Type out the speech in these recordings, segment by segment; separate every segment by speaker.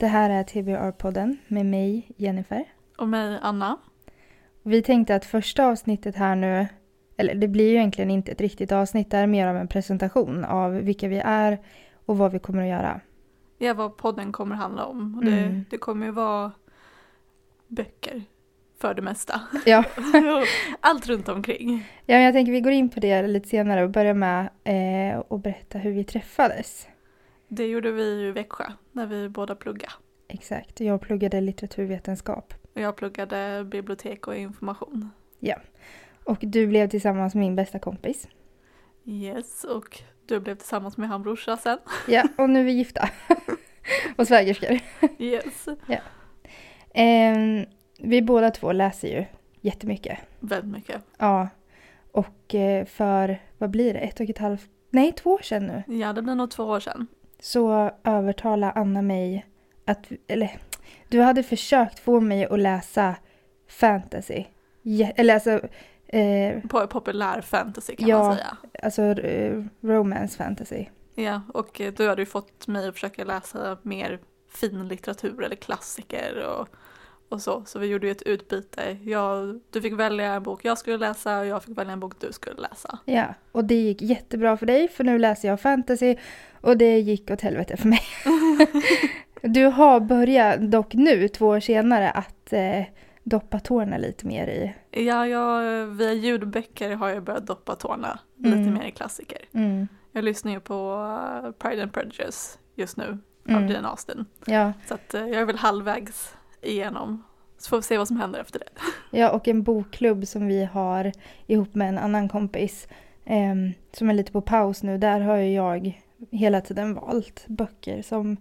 Speaker 1: här är TBR-podden med mig, Jennifer.
Speaker 2: Och mig, Anna.
Speaker 1: Vi tänkte att första avsnittet här nu, eller det blir ju egentligen inte ett riktigt avsnitt, det är mer av en presentation av vilka vi är och vad vi kommer att göra.
Speaker 2: Ja, vad podden kommer handla om. Och det,
Speaker 1: Mm.
Speaker 2: det kommer ju vara böcker för det mesta.
Speaker 1: Ja,
Speaker 2: Och Allt runt omkring.
Speaker 1: ja men jag tänker vi går in på det lite senare och börjar med eh, att berätta hur vi träffades.
Speaker 2: Det gjorde vi ju i Växjö när vi båda pluggade.
Speaker 1: Exakt, jag pluggade litteraturvetenskap
Speaker 2: Och jag pluggade bibliotek och information.
Speaker 1: och du blev tillsammans med min bästa kompis.
Speaker 2: Yes, och du blev tillsammans med han brorsa sen.
Speaker 1: Ja, och nu är vi gifta. och svägerskor.
Speaker 2: Yes.
Speaker 1: Ehm, vi båda två läser ju jättemycket.
Speaker 2: Väldigt mycket.
Speaker 1: Ja. Och eh, för, vad blir det, ett och ett halvt, nej två år sedan nu.
Speaker 2: Ja, det blir nog två år sedan.
Speaker 1: Så övertalade Anna mig att, eller du hade försökt få mig att läsa fantasy. Je, eller alltså, eh,
Speaker 2: På populär fantasy kan
Speaker 1: Ja.
Speaker 2: man säga.
Speaker 1: alltså eh, romance fantasy.
Speaker 2: Ja, och eh, du hade ju fått mig att försöka läsa mer fin litteratur eller klassiker och, och så. Så vi gjorde ju ett utbyte. Jag, du fick välja en bok jag skulle läsa och jag fick välja en bok du skulle läsa.
Speaker 1: Ja, och det gick jättebra för dig för nu läser jag fantasy och det gick åt helvete för mig. du har börjat, dock nu två år senare, att eh, doppa tårna lite mer i.
Speaker 2: Ja, jag, via ljudböcker har jag börjat doppa tårna lite
Speaker 1: Mm.
Speaker 2: mer i klassiker.
Speaker 1: Mm.
Speaker 2: Jag lyssnar ju på eh, Pride and Prejudice just nu
Speaker 1: Mm.
Speaker 2: av Jane Austen.
Speaker 1: Ja.
Speaker 2: Så att, eh, jag är väl halvvägs igenom. Så får vi se vad som händer efter det.
Speaker 1: ja, och en bokklubb som vi har ihop med en annan kompis ehm, som är lite på paus nu, där har ju jag hela tiden valt böcker som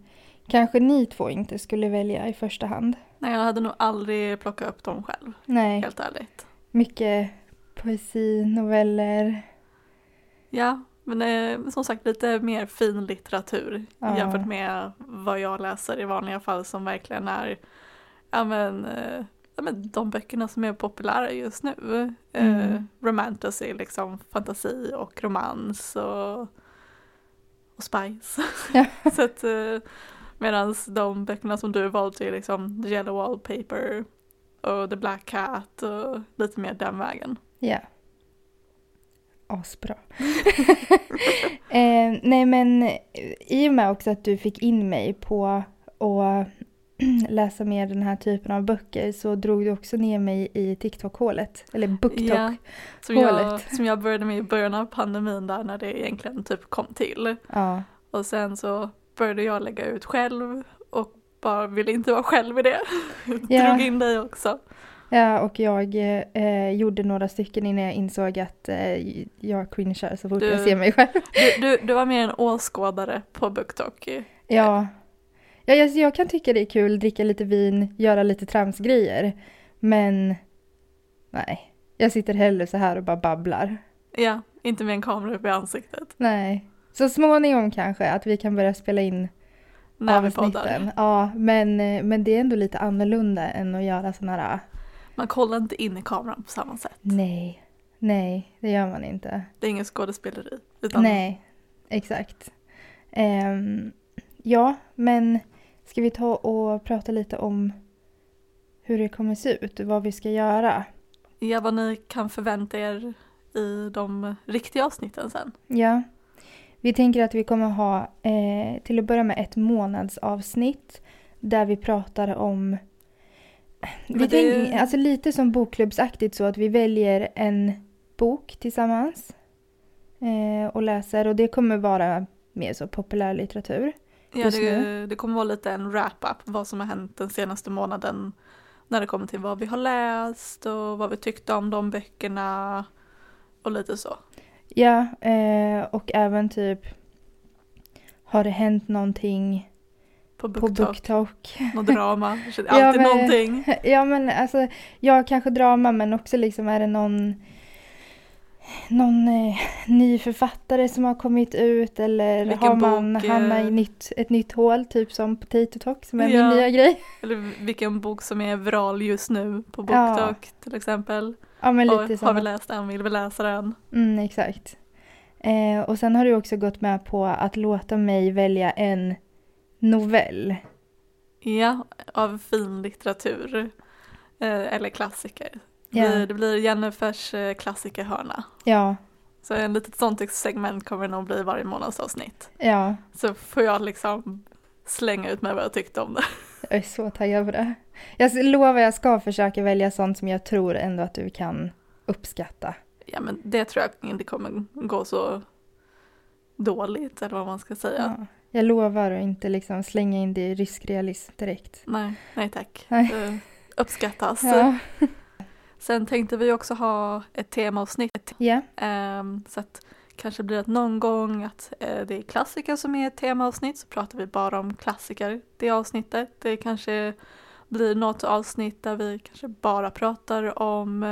Speaker 1: kanske ni två inte skulle välja i första hand.
Speaker 2: Nej, jag hade nog aldrig plockat upp dem själv,
Speaker 1: Nej,
Speaker 2: helt ärligt.
Speaker 1: mycket poesi, noveller.
Speaker 2: Ja, men eh, som sagt lite mer fin litteratur
Speaker 1: Ja.
Speaker 2: jämfört med vad jag läser i vanliga fall som verkligen är ja, men, eh, ja, men de böckerna som är populära just nu. Eh,
Speaker 1: Mm.
Speaker 2: romantasy, liksom fantasi och romans och, och spice.
Speaker 1: Ja.
Speaker 2: Så att, eh, medans de böckerna som du valt är liksom The Yellow Wallpaper och The Black Cat och lite mer den vägen.
Speaker 1: Ja. Asbra. eh, nej men eh, i och med också att du fick in mig på att läsa mer den här typen av böcker så drog du också ner mig i TikTok-hålet. Eller BookTok.
Speaker 2: Ja, som jag,
Speaker 1: Hålet.
Speaker 2: som jag började med i början av pandemin där när det egentligen typ kom till.
Speaker 1: Ja.
Speaker 2: Och sen så började jag lägga ut själv och bara ville inte vara själv i det.
Speaker 1: Ja.
Speaker 2: Drog in dig också.
Speaker 1: ja, och jag eh, gjorde några stycken innan jag insåg att eh, jag cringear så fort
Speaker 2: Du-
Speaker 1: jag ser mig själv.
Speaker 2: Du, du, du var mer en åskådare på BookTok.
Speaker 1: Ja. ja jag, jag kan tycka det är kul, dricka lite vin, göra lite tramsgrejer. Men nej, jag sitter hellre så här och bara babblar.
Speaker 2: Ja, inte med en kamera uppe i ansiktet.
Speaker 1: Nej. Så småningom kanske att vi kan börja spela in
Speaker 2: När vi poddar.
Speaker 1: avsnitten. Ja, men, eh, men det är ändå lite annorlunda än att göra sådana här...
Speaker 2: Man kollar inte in i kameran på samma sätt.
Speaker 1: Nej, nej, det gör man inte.
Speaker 2: Det är ingen skådespeleri. Utan
Speaker 1: Nej, exakt. Ehm, ja, men ska vi ta och prata lite om hur det kommer se ut, vad vi ska göra?
Speaker 2: ja, vad ni kan förvänta er i de riktiga avsnitten sen.
Speaker 1: Ja, vi tänker att vi kommer ha eh, till att börja med ett månadsavsnitt där vi pratar om vi
Speaker 2: Men det är ju-
Speaker 1: tänker, alltså lite som bokklubbsaktigt så att vi väljer en bok tillsammans eh, och läser och det kommer vara mer så populärlitteratur.
Speaker 2: Ja,
Speaker 1: just
Speaker 2: det, det kommer vara lite en wrap-up vad som har hänt den senaste månaden när det kommer till vad vi har läst och vad vi tyckte om de böckerna och lite så.
Speaker 1: Ja, eh, och även typ har det hänt någonting
Speaker 2: På
Speaker 1: på
Speaker 2: BookTok,
Speaker 1: BookTok?
Speaker 2: något drama, det är
Speaker 1: Ja,
Speaker 2: alltid
Speaker 1: men-
Speaker 2: någonting.
Speaker 1: ja men alltså, ja kanske drama men också liksom är det någon någon eh, ny författare som har kommit ut eller
Speaker 2: Vilken
Speaker 1: har man
Speaker 2: bok, eh,
Speaker 1: hamnat i nytt, ett nytt hål typ som Potato Talk som är
Speaker 2: Ja.
Speaker 1: min nya grej.
Speaker 2: Eller vilken bok som är viral just nu på
Speaker 1: Ja.
Speaker 2: BookTok till exempel.
Speaker 1: Ja men
Speaker 2: Och,
Speaker 1: lite
Speaker 2: har vi
Speaker 1: så.
Speaker 2: läst den? Vill vi läsa den?
Speaker 1: Mm, exakt. Eh, och sen har du också gått med på att låta mig välja en novell.
Speaker 2: Ja, av fin litteratur. Eh, eller klassiker.
Speaker 1: Ja.
Speaker 2: Det, det blir Jennifers eh, klassikerhörna.
Speaker 1: Ja,
Speaker 2: Så en litet sånt segment kommer det nog bli varje månadsavsnitt.
Speaker 1: ja.
Speaker 2: Så får jag liksom slänga ut med vad jag tyckte om det.
Speaker 1: Jag är så taggad på det. Jag s- lovar, jag ska försöka välja sånt som jag tror ändå att du kan uppskatta.
Speaker 2: Ja men det tror jag inte kommer gå så dåligt eller vad man ska säga.
Speaker 1: Ja. Jag lovar att inte liksom slänga in det i rysk realism direkt.
Speaker 2: Nej, nej tack.
Speaker 1: Nej.
Speaker 2: Eh, uppskattas.
Speaker 1: Ja,
Speaker 2: Sen tänkte vi också ha ett temaavsnitt.
Speaker 1: ja,
Speaker 2: Ehm, så att kanske blir det någon gång att eh, det är klassiker som är ett temaavsnitt så pratar vi bara om klassiker det avsnittet. Det kanske blir något avsnitt där vi kanske bara pratar om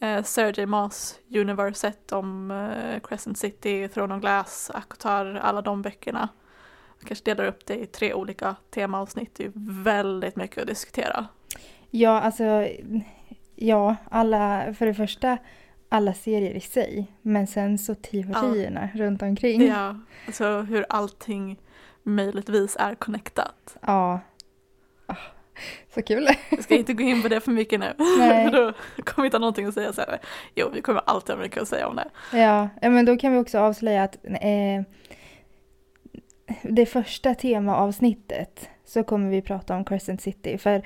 Speaker 2: eh, eh, Sergej Mas universet om eh, Crescent City, Throne of Glass, Akotar, alla de böckerna. Vi kanske delar upp det i tre olika temaavsnitt. Det är ju väldigt mycket att diskutera.
Speaker 1: ja, alltså, ja, alla, för det första, alla serier i sig, men sen så teorierna runt omkring.
Speaker 2: Ja, alltså hur allting möjligtvis är connectat.
Speaker 1: Ja. Ah, Så kul.
Speaker 2: Jag ska inte gå in på det för mycket nu.
Speaker 1: Nej.
Speaker 2: Då kommer vi inte ha någonting att säga senare. Jo, vi kommer alltid ha mycket att säga om det.
Speaker 1: Ja, ja, men då kan vi också avslöja att eh, det första temaavsnittet så kommer vi prata om Crescent City. För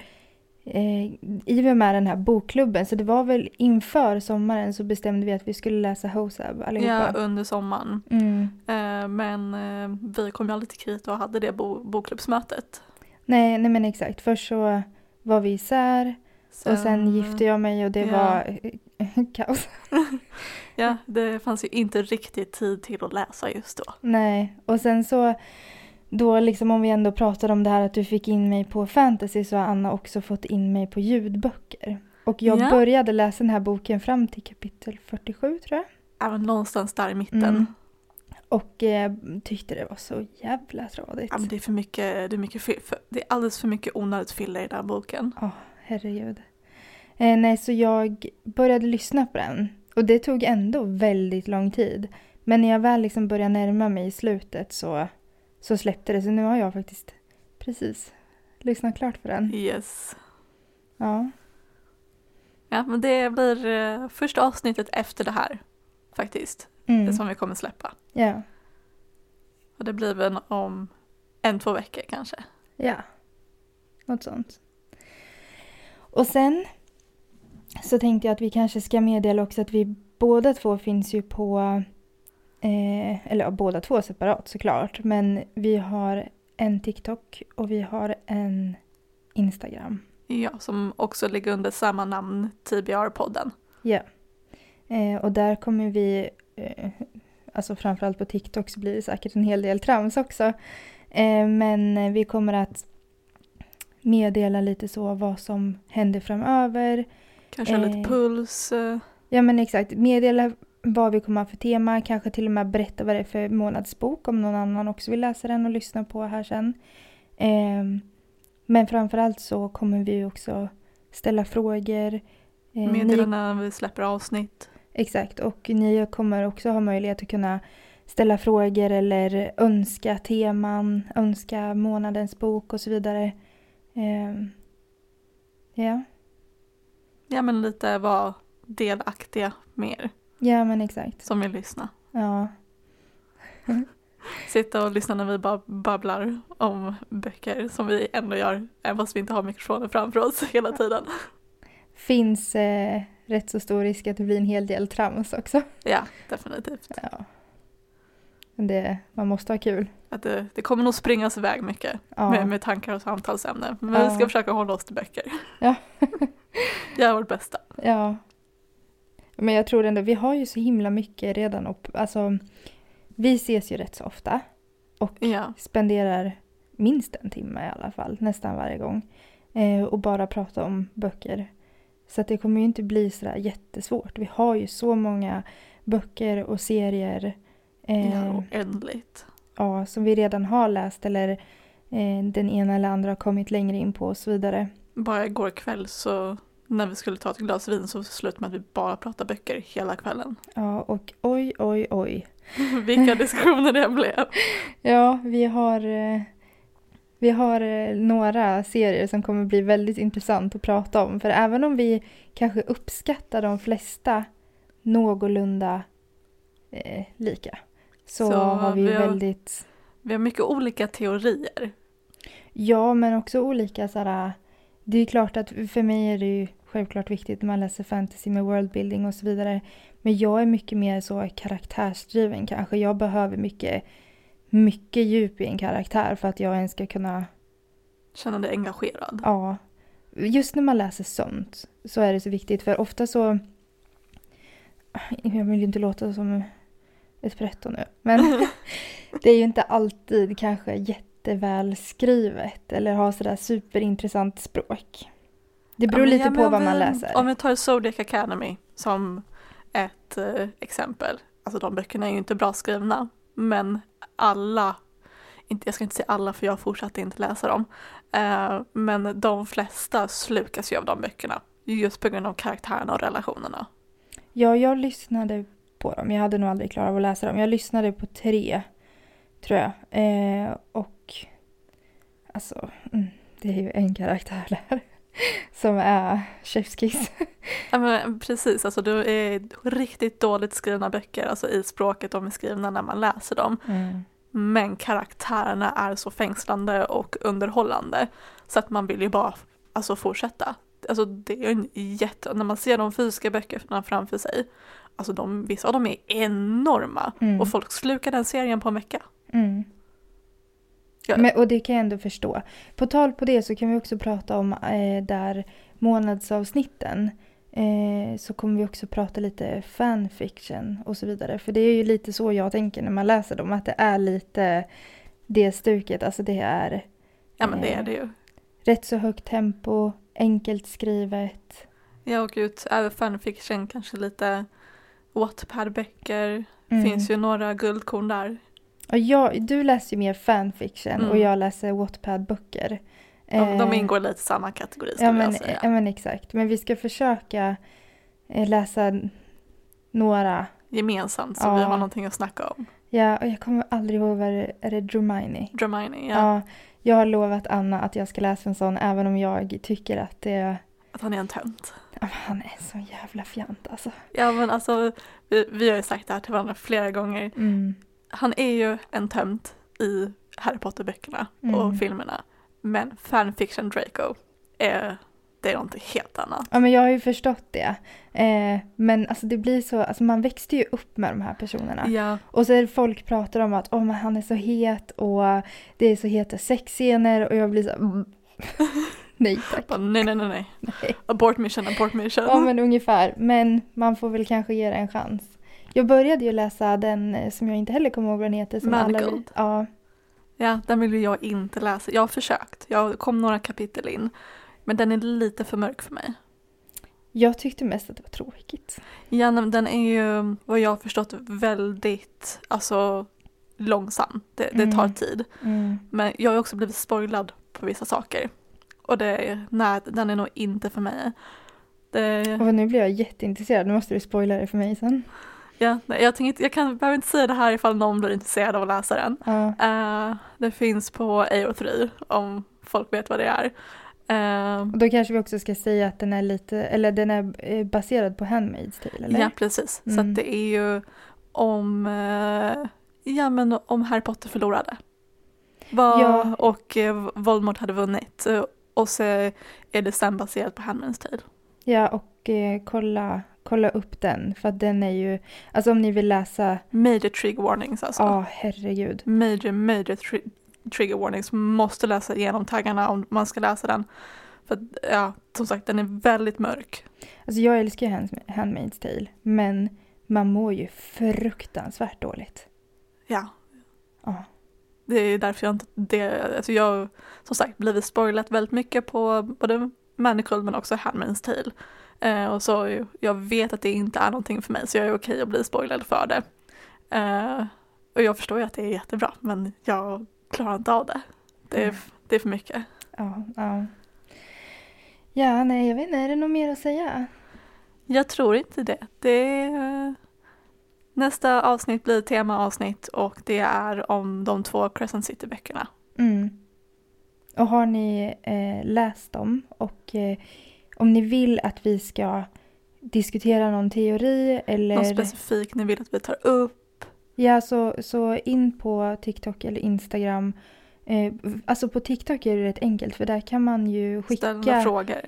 Speaker 1: eh, i och med den här bokklubben, så det var väl inför sommaren så bestämde vi att vi skulle läsa Hosab
Speaker 2: Ja,
Speaker 1: allihopa.
Speaker 2: under sommaren.
Speaker 1: Mm.
Speaker 2: Eh, Men eh, vi kom ju aldrig till Krita och hade det bo- bokklubbsmötet.
Speaker 1: Nej, nej men exakt, först så var vi isär och
Speaker 2: eh,
Speaker 1: sen gifte jag mig och det
Speaker 2: ja.
Speaker 1: var eh, kaos.
Speaker 2: Ja, det fanns ju inte riktigt tid till att läsa just då.
Speaker 1: Nej, och sen så då liksom om vi ändå pratar om det här att du fick in mig på fantasy så har Anna också fått in mig på ljudböcker. Och jag
Speaker 2: Ja.
Speaker 1: började läsa den här boken fram till kapitel 47 tror jag.
Speaker 2: Även någonstans där i mitten.
Speaker 1: Mm. Och eh, tyckte det var så jävla tradigt.
Speaker 2: Ja, men det är för mycket, det är mycket, fi- för, det är alldeles för mycket onödigt fyller i den här boken.
Speaker 1: Herregud. Eh, nej, så jag började lyssna på den. Och det tog ändå väldigt lång tid. Men när jag väl liksom började närma mig i slutet så, så släppte det. Så nu har jag faktiskt precis lyssnat klart på den.
Speaker 2: Yes.
Speaker 1: Ja.
Speaker 2: Ja, men det blir eh, första avsnittet efter det här faktiskt.
Speaker 1: Mm.
Speaker 2: Det som vi kommer släppa.
Speaker 1: Ja.
Speaker 2: Och det blir väl om en, två veckor kanske.
Speaker 1: ja, något sånt. Och sen så tänkte jag att vi kanske ska meddela också att vi båda två finns ju på, eh, eller ja, båda två separat såklart, men vi har en TikTok och vi har en Instagram.
Speaker 2: Ja, som också ligger under samma namn, TBR-podden.
Speaker 1: Eh, och där kommer vi, eh, alltså framförallt på TikTok så blir det säkert en hel del trams också. Eh, men eh, vi kommer att meddela lite så vad som händer framöver.
Speaker 2: Kanske
Speaker 1: Eh.
Speaker 2: lite puls. eh,
Speaker 1: Ja men exakt, meddela vad vi kommer ha för tema, kanske till och med berätta vad det är för månadsbok om någon annan också vill läsa den och lyssna på här sen. Ehm, men framförallt så kommer vi ju också ställa frågor. Eh, ni-
Speaker 2: Meddela när vi släpper avsnitt.
Speaker 1: Exakt, och ni kommer också ha möjlighet att kunna ställa frågor eller önska teman, önska månadens bok och så vidare. Ehm, ja.
Speaker 2: Ja, men lite vara delaktiga mer
Speaker 1: ja, men exakt.
Speaker 2: som vill lyssna.
Speaker 1: Ja.
Speaker 2: Sitta och lyssna när vi bara babblar om böcker som vi ändå gör, även fast vi inte har mikrofonen framför oss hela tiden.
Speaker 1: Finns eh, rätt så stor risk att det blir en hel del trams också.
Speaker 2: Ja, definitivt.
Speaker 1: Ja. Men det, man måste ha kul.
Speaker 2: Att det, det kommer nog springas iväg mycket
Speaker 1: Ja.
Speaker 2: med, med tankar och samtalsämnen. Men vi
Speaker 1: Ja.
Speaker 2: ska försöka hålla oss till böcker.
Speaker 1: Ja.
Speaker 2: Göra vårt bästa.
Speaker 1: Ja. Men jag tror ändå, vi har ju så himla mycket redan upp, alltså vi ses ju rätt så ofta.
Speaker 2: Ja.
Speaker 1: spenderar minst en timme i alla fall, nästan varje gång. Eh, och bara prata om böcker. Så att det kommer ju inte bli sådär jättesvårt. Vi har ju så många böcker och serier eh,
Speaker 2: ja,
Speaker 1: ja.
Speaker 2: oändligt.
Speaker 1: som vi redan har läst eller eh, den ena eller andra har kommit längre in på och så vidare.
Speaker 2: Bara igår kväll så när vi skulle ta ett glas vin så slutade med att vi bara pratade böcker hela kvällen.
Speaker 1: Ja, och oj, oj, oj.
Speaker 2: Vilka diskussioner det blev.
Speaker 1: Ja, vi har eh, Vi har eh, några serier som kommer bli väldigt intressant att prata om. För även om vi kanske uppskattar de flesta någorlunda eh, lika. Så,
Speaker 2: Så
Speaker 1: har vi, ju
Speaker 2: vi har-
Speaker 1: väldigt...
Speaker 2: Vi har mycket olika teorier.
Speaker 1: Ja, men också olika sådär... Det är ju klart att för mig är det ju självklart viktigt när man läser fantasy med worldbuilding och så vidare. Men jag är mycket mer så karaktärsdriven kanske. Jag behöver mycket, mycket djup i en karaktär för att jag ens ska kunna
Speaker 2: Känner dig engagerad.
Speaker 1: Ja. Just när man läser sånt så är det så viktigt för ofta så... Jag vill ju inte låta som ett pretto nu. Men det är ju inte alltid kanske jätteväl skrivet eller har sådär superintressant språk. Det beror
Speaker 2: Ja, men-
Speaker 1: lite
Speaker 2: ja, men
Speaker 1: på
Speaker 2: om
Speaker 1: vad
Speaker 2: vi-
Speaker 1: man läser.
Speaker 2: Om vi tar Zodiac Academy som ett eh, exempel. Alltså de böckerna är ju inte bra skrivna. Men alla, inte, jag ska inte säga alla för jag fortsatte inte läsa dem. Eh, men de flesta slukas ju av de böckerna. Just på grund av karaktärerna och relationerna.
Speaker 1: Ja, jag lyssnade på dem. Jag hade nog aldrig klarat av att läsa dem. Jag lyssnade på tre, tror jag. Eh, och alltså, mm, det är ju en karaktär där som är chefskiss.
Speaker 2: Ja, men precis, alltså det är riktigt dåligt skrivna böcker, alltså i språket de är skrivna när man läser dem. Men karaktärerna är så fängslande och underhållande så att man vill ju bara alltså, fortsätta. Alltså det är ju en jätte, när man ser de fysiska böckerna framför sig, alltså de, vissa av dem är enorma
Speaker 1: Mm.
Speaker 2: och folk slukar den serien på en vecka.
Speaker 1: Mm.
Speaker 2: Ja.
Speaker 1: Men, och det kan jag ändå förstå. På tal på det så kan vi också prata om eh, där månadsavsnitten. Eh, så kommer vi också prata lite fanfiction och så vidare. För det är ju lite så jag tänker när man läser dem. Att det är lite det stuket. Alltså det är
Speaker 2: Ja men det är det ju.
Speaker 1: rätt så högt tempo, enkelt skrivet.
Speaker 2: Jag åker ut över fanfiction, kanske lite Wattpad-böcker.
Speaker 1: Mm.
Speaker 2: Finns ju några guldkorn där.
Speaker 1: Och jag, du läser ju mer fanfiction
Speaker 2: Mm.
Speaker 1: och jag läser Wattpad-böcker.
Speaker 2: De, de
Speaker 1: Eh,
Speaker 2: ingår lite i samma kategori skulle
Speaker 1: Ja men, eh,
Speaker 2: jag säga.
Speaker 1: ja men exakt. Men vi ska försöka eh, läsa några.
Speaker 2: Gemensamt så
Speaker 1: Ja.
Speaker 2: vi har någonting att snacka om.
Speaker 1: Ja, och jag kommer aldrig ihåg vad det är. det Dromini?
Speaker 2: Dramini, ja.
Speaker 1: Ja, jag har lovat Anna att jag ska läsa en sån även om jag tycker att det...
Speaker 2: Att han är en tönt.
Speaker 1: Ja, men Han är så jävla fjant alltså.
Speaker 2: Ja men alltså, vi, vi har ju sagt det här till varandra flera gånger.
Speaker 1: Mm.
Speaker 2: Han är ju en tönt i Harry Potter-böckerna
Speaker 1: Mm.
Speaker 2: och filmerna. Men fanfiction Draco, är, det är någonting helt annat.
Speaker 1: Ja men jag har ju förstått det. Eh, men alltså det blir så, alltså man växte ju upp med de här personerna.
Speaker 2: Ja,
Speaker 1: Och så är det folk pratar om att oh, men han är så het och det är så heta sexscener och jag blir så här, mm. Nej tack.
Speaker 2: bara, nej nej nej nej.
Speaker 1: Nej.
Speaker 2: Abort mission, abort mission.
Speaker 1: Ja men ungefär. Men man får väl kanske ge det en chans. Jag började ju läsa den eh, som jag inte heller kommer ihåg vad den heter. Som alla vi,
Speaker 2: Marigold.
Speaker 1: ja,
Speaker 2: Ja, den vill ju jag inte läsa. Jag har försökt, jag kom några kapitel in. Men den är lite för mörk för mig.
Speaker 1: jag tyckte mest att det var tråkigt.
Speaker 2: Ja, nej, men den är ju vad jag har förstått väldigt alltså, långsam. Det, det tar
Speaker 1: Mm.
Speaker 2: tid. Men jag har också blivit spoilad på vissa saker. Och det, nej, den är nog inte för mig. Det,
Speaker 1: Och nu blir jag jätteintresserad. Nu måste du spoila det för mig sen.
Speaker 2: ja, nej, jag, tänker, inte- jag kan, behöver inte säga det här ifall någon blir intresserad av att läsa den.
Speaker 1: Ja.
Speaker 2: Eh, det finns på AO3 om folk vet vad det är. Eh,
Speaker 1: Och då kanske vi också ska säga att den är lite, eller den är eh, baserad på Handmaid's Tale eller?
Speaker 2: Ja, precis. Så
Speaker 1: Mm.
Speaker 2: att det är ju om, eh, ja, men om Harry Potter förlorade. Vad,
Speaker 1: Ja.
Speaker 2: Och eh, Voldemort hade vunnit. Eh, Och så är det sen baserat på Handmaid's Tale.
Speaker 1: Ja, och eh, kolla, kolla upp den. För att den är ju, alltså om ni vill läsa,
Speaker 2: Major trigger warnings alltså.
Speaker 1: ja herregud.
Speaker 2: Major, major tri- trigger warnings. Måste läsa igenom taggarna om man ska läsa den. För att, ja, som sagt den är väldigt mörk.
Speaker 1: Alltså jag älskar ju Hand- Handmaid's Tale, men man mår ju fruktansvärt dåligt.
Speaker 2: Ja,
Speaker 1: Ja.
Speaker 2: det är därför jag inte, det, alltså jag har, som sagt blivit spoilat väldigt mycket på både Manicold men också Handmaid's Tale. Eh, och så har ju- jag vet att det inte är någonting för mig så jag är okej att bli spoilad för det. Eh, och jag förstår ju att det är jättebra men jag klarar inte av det. Det är, det är för mycket.
Speaker 1: Ja, ja. Ja, nej jag vet inte, är det något mer att säga?
Speaker 2: Jag tror inte det. det är, eh, nästa avsnitt blir temaavsnitt och det är om de två Crescent City-böckerna.
Speaker 1: Mm. Och har ni eh, läst dem och eh, om ni vill att vi ska diskutera någon teori
Speaker 2: Någon
Speaker 1: eller
Speaker 2: specifik ni vill att vi tar upp?
Speaker 1: Ja, så, så in på TikTok eller Instagram. Eh, alltså på TikTok är det rätt enkelt för där kan man ju
Speaker 2: Ställ några
Speaker 1: skicka.
Speaker 2: frågor.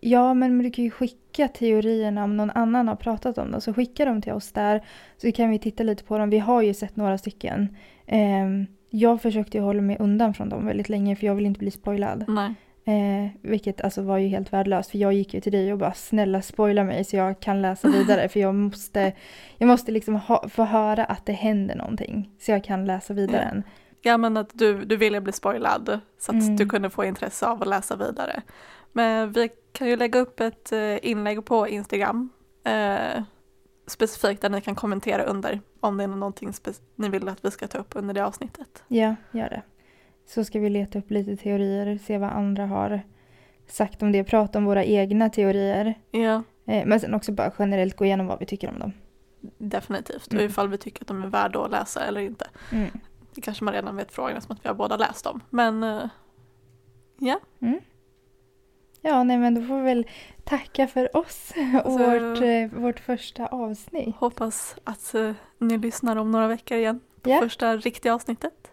Speaker 1: Ja, men du kan ju skicka teorierna om någon annan har pratat om dem. Så skicka dem till oss där så kan vi titta lite på dem. Vi har ju sett några stycken. Eh, jag försökte ju hålla mig undan från dem väldigt länge för jag vill inte bli spoilad.
Speaker 2: Nej.
Speaker 1: Eh, vilket alltså var ju helt värdelöst för jag gick ju till dig och bara snälla spoila mig så jag kan läsa vidare för jag måste, jag måste liksom ha, få höra att det händer någonting så jag kan läsa vidare.
Speaker 2: Ja. Ja men att du, du ville bli spoilad så att
Speaker 1: Mm.
Speaker 2: du kunde få intresse av att läsa vidare. Men vi kan ju lägga upp ett eh, inlägg på Instagram eh, specifikt där ni kan kommentera under om det är någonting spe- ni vill att vi ska ta upp under det avsnittet.
Speaker 1: Ja, gör det. Så ska vi leta upp lite teorier, se vad andra har sagt om det, prata om våra egna teorier.
Speaker 2: Ja,
Speaker 1: Eh, men sen också bara generellt gå igenom vad vi tycker om dem.
Speaker 2: definitivt.
Speaker 1: Mm.
Speaker 2: Och ifall vi tycker att de är värda att läsa eller inte.
Speaker 1: Mm.
Speaker 2: Det kanske man redan vet frågan eftersom att vi har båda läst dem. Men eh,
Speaker 1: Ja, nej men då får vi väl tacka för oss och
Speaker 2: Så-
Speaker 1: vårt, eh, vårt första avsnitt.
Speaker 2: hoppas att eh, ni lyssnar om några veckor igen.
Speaker 1: Ja,
Speaker 2: Första riktiga avsnittet.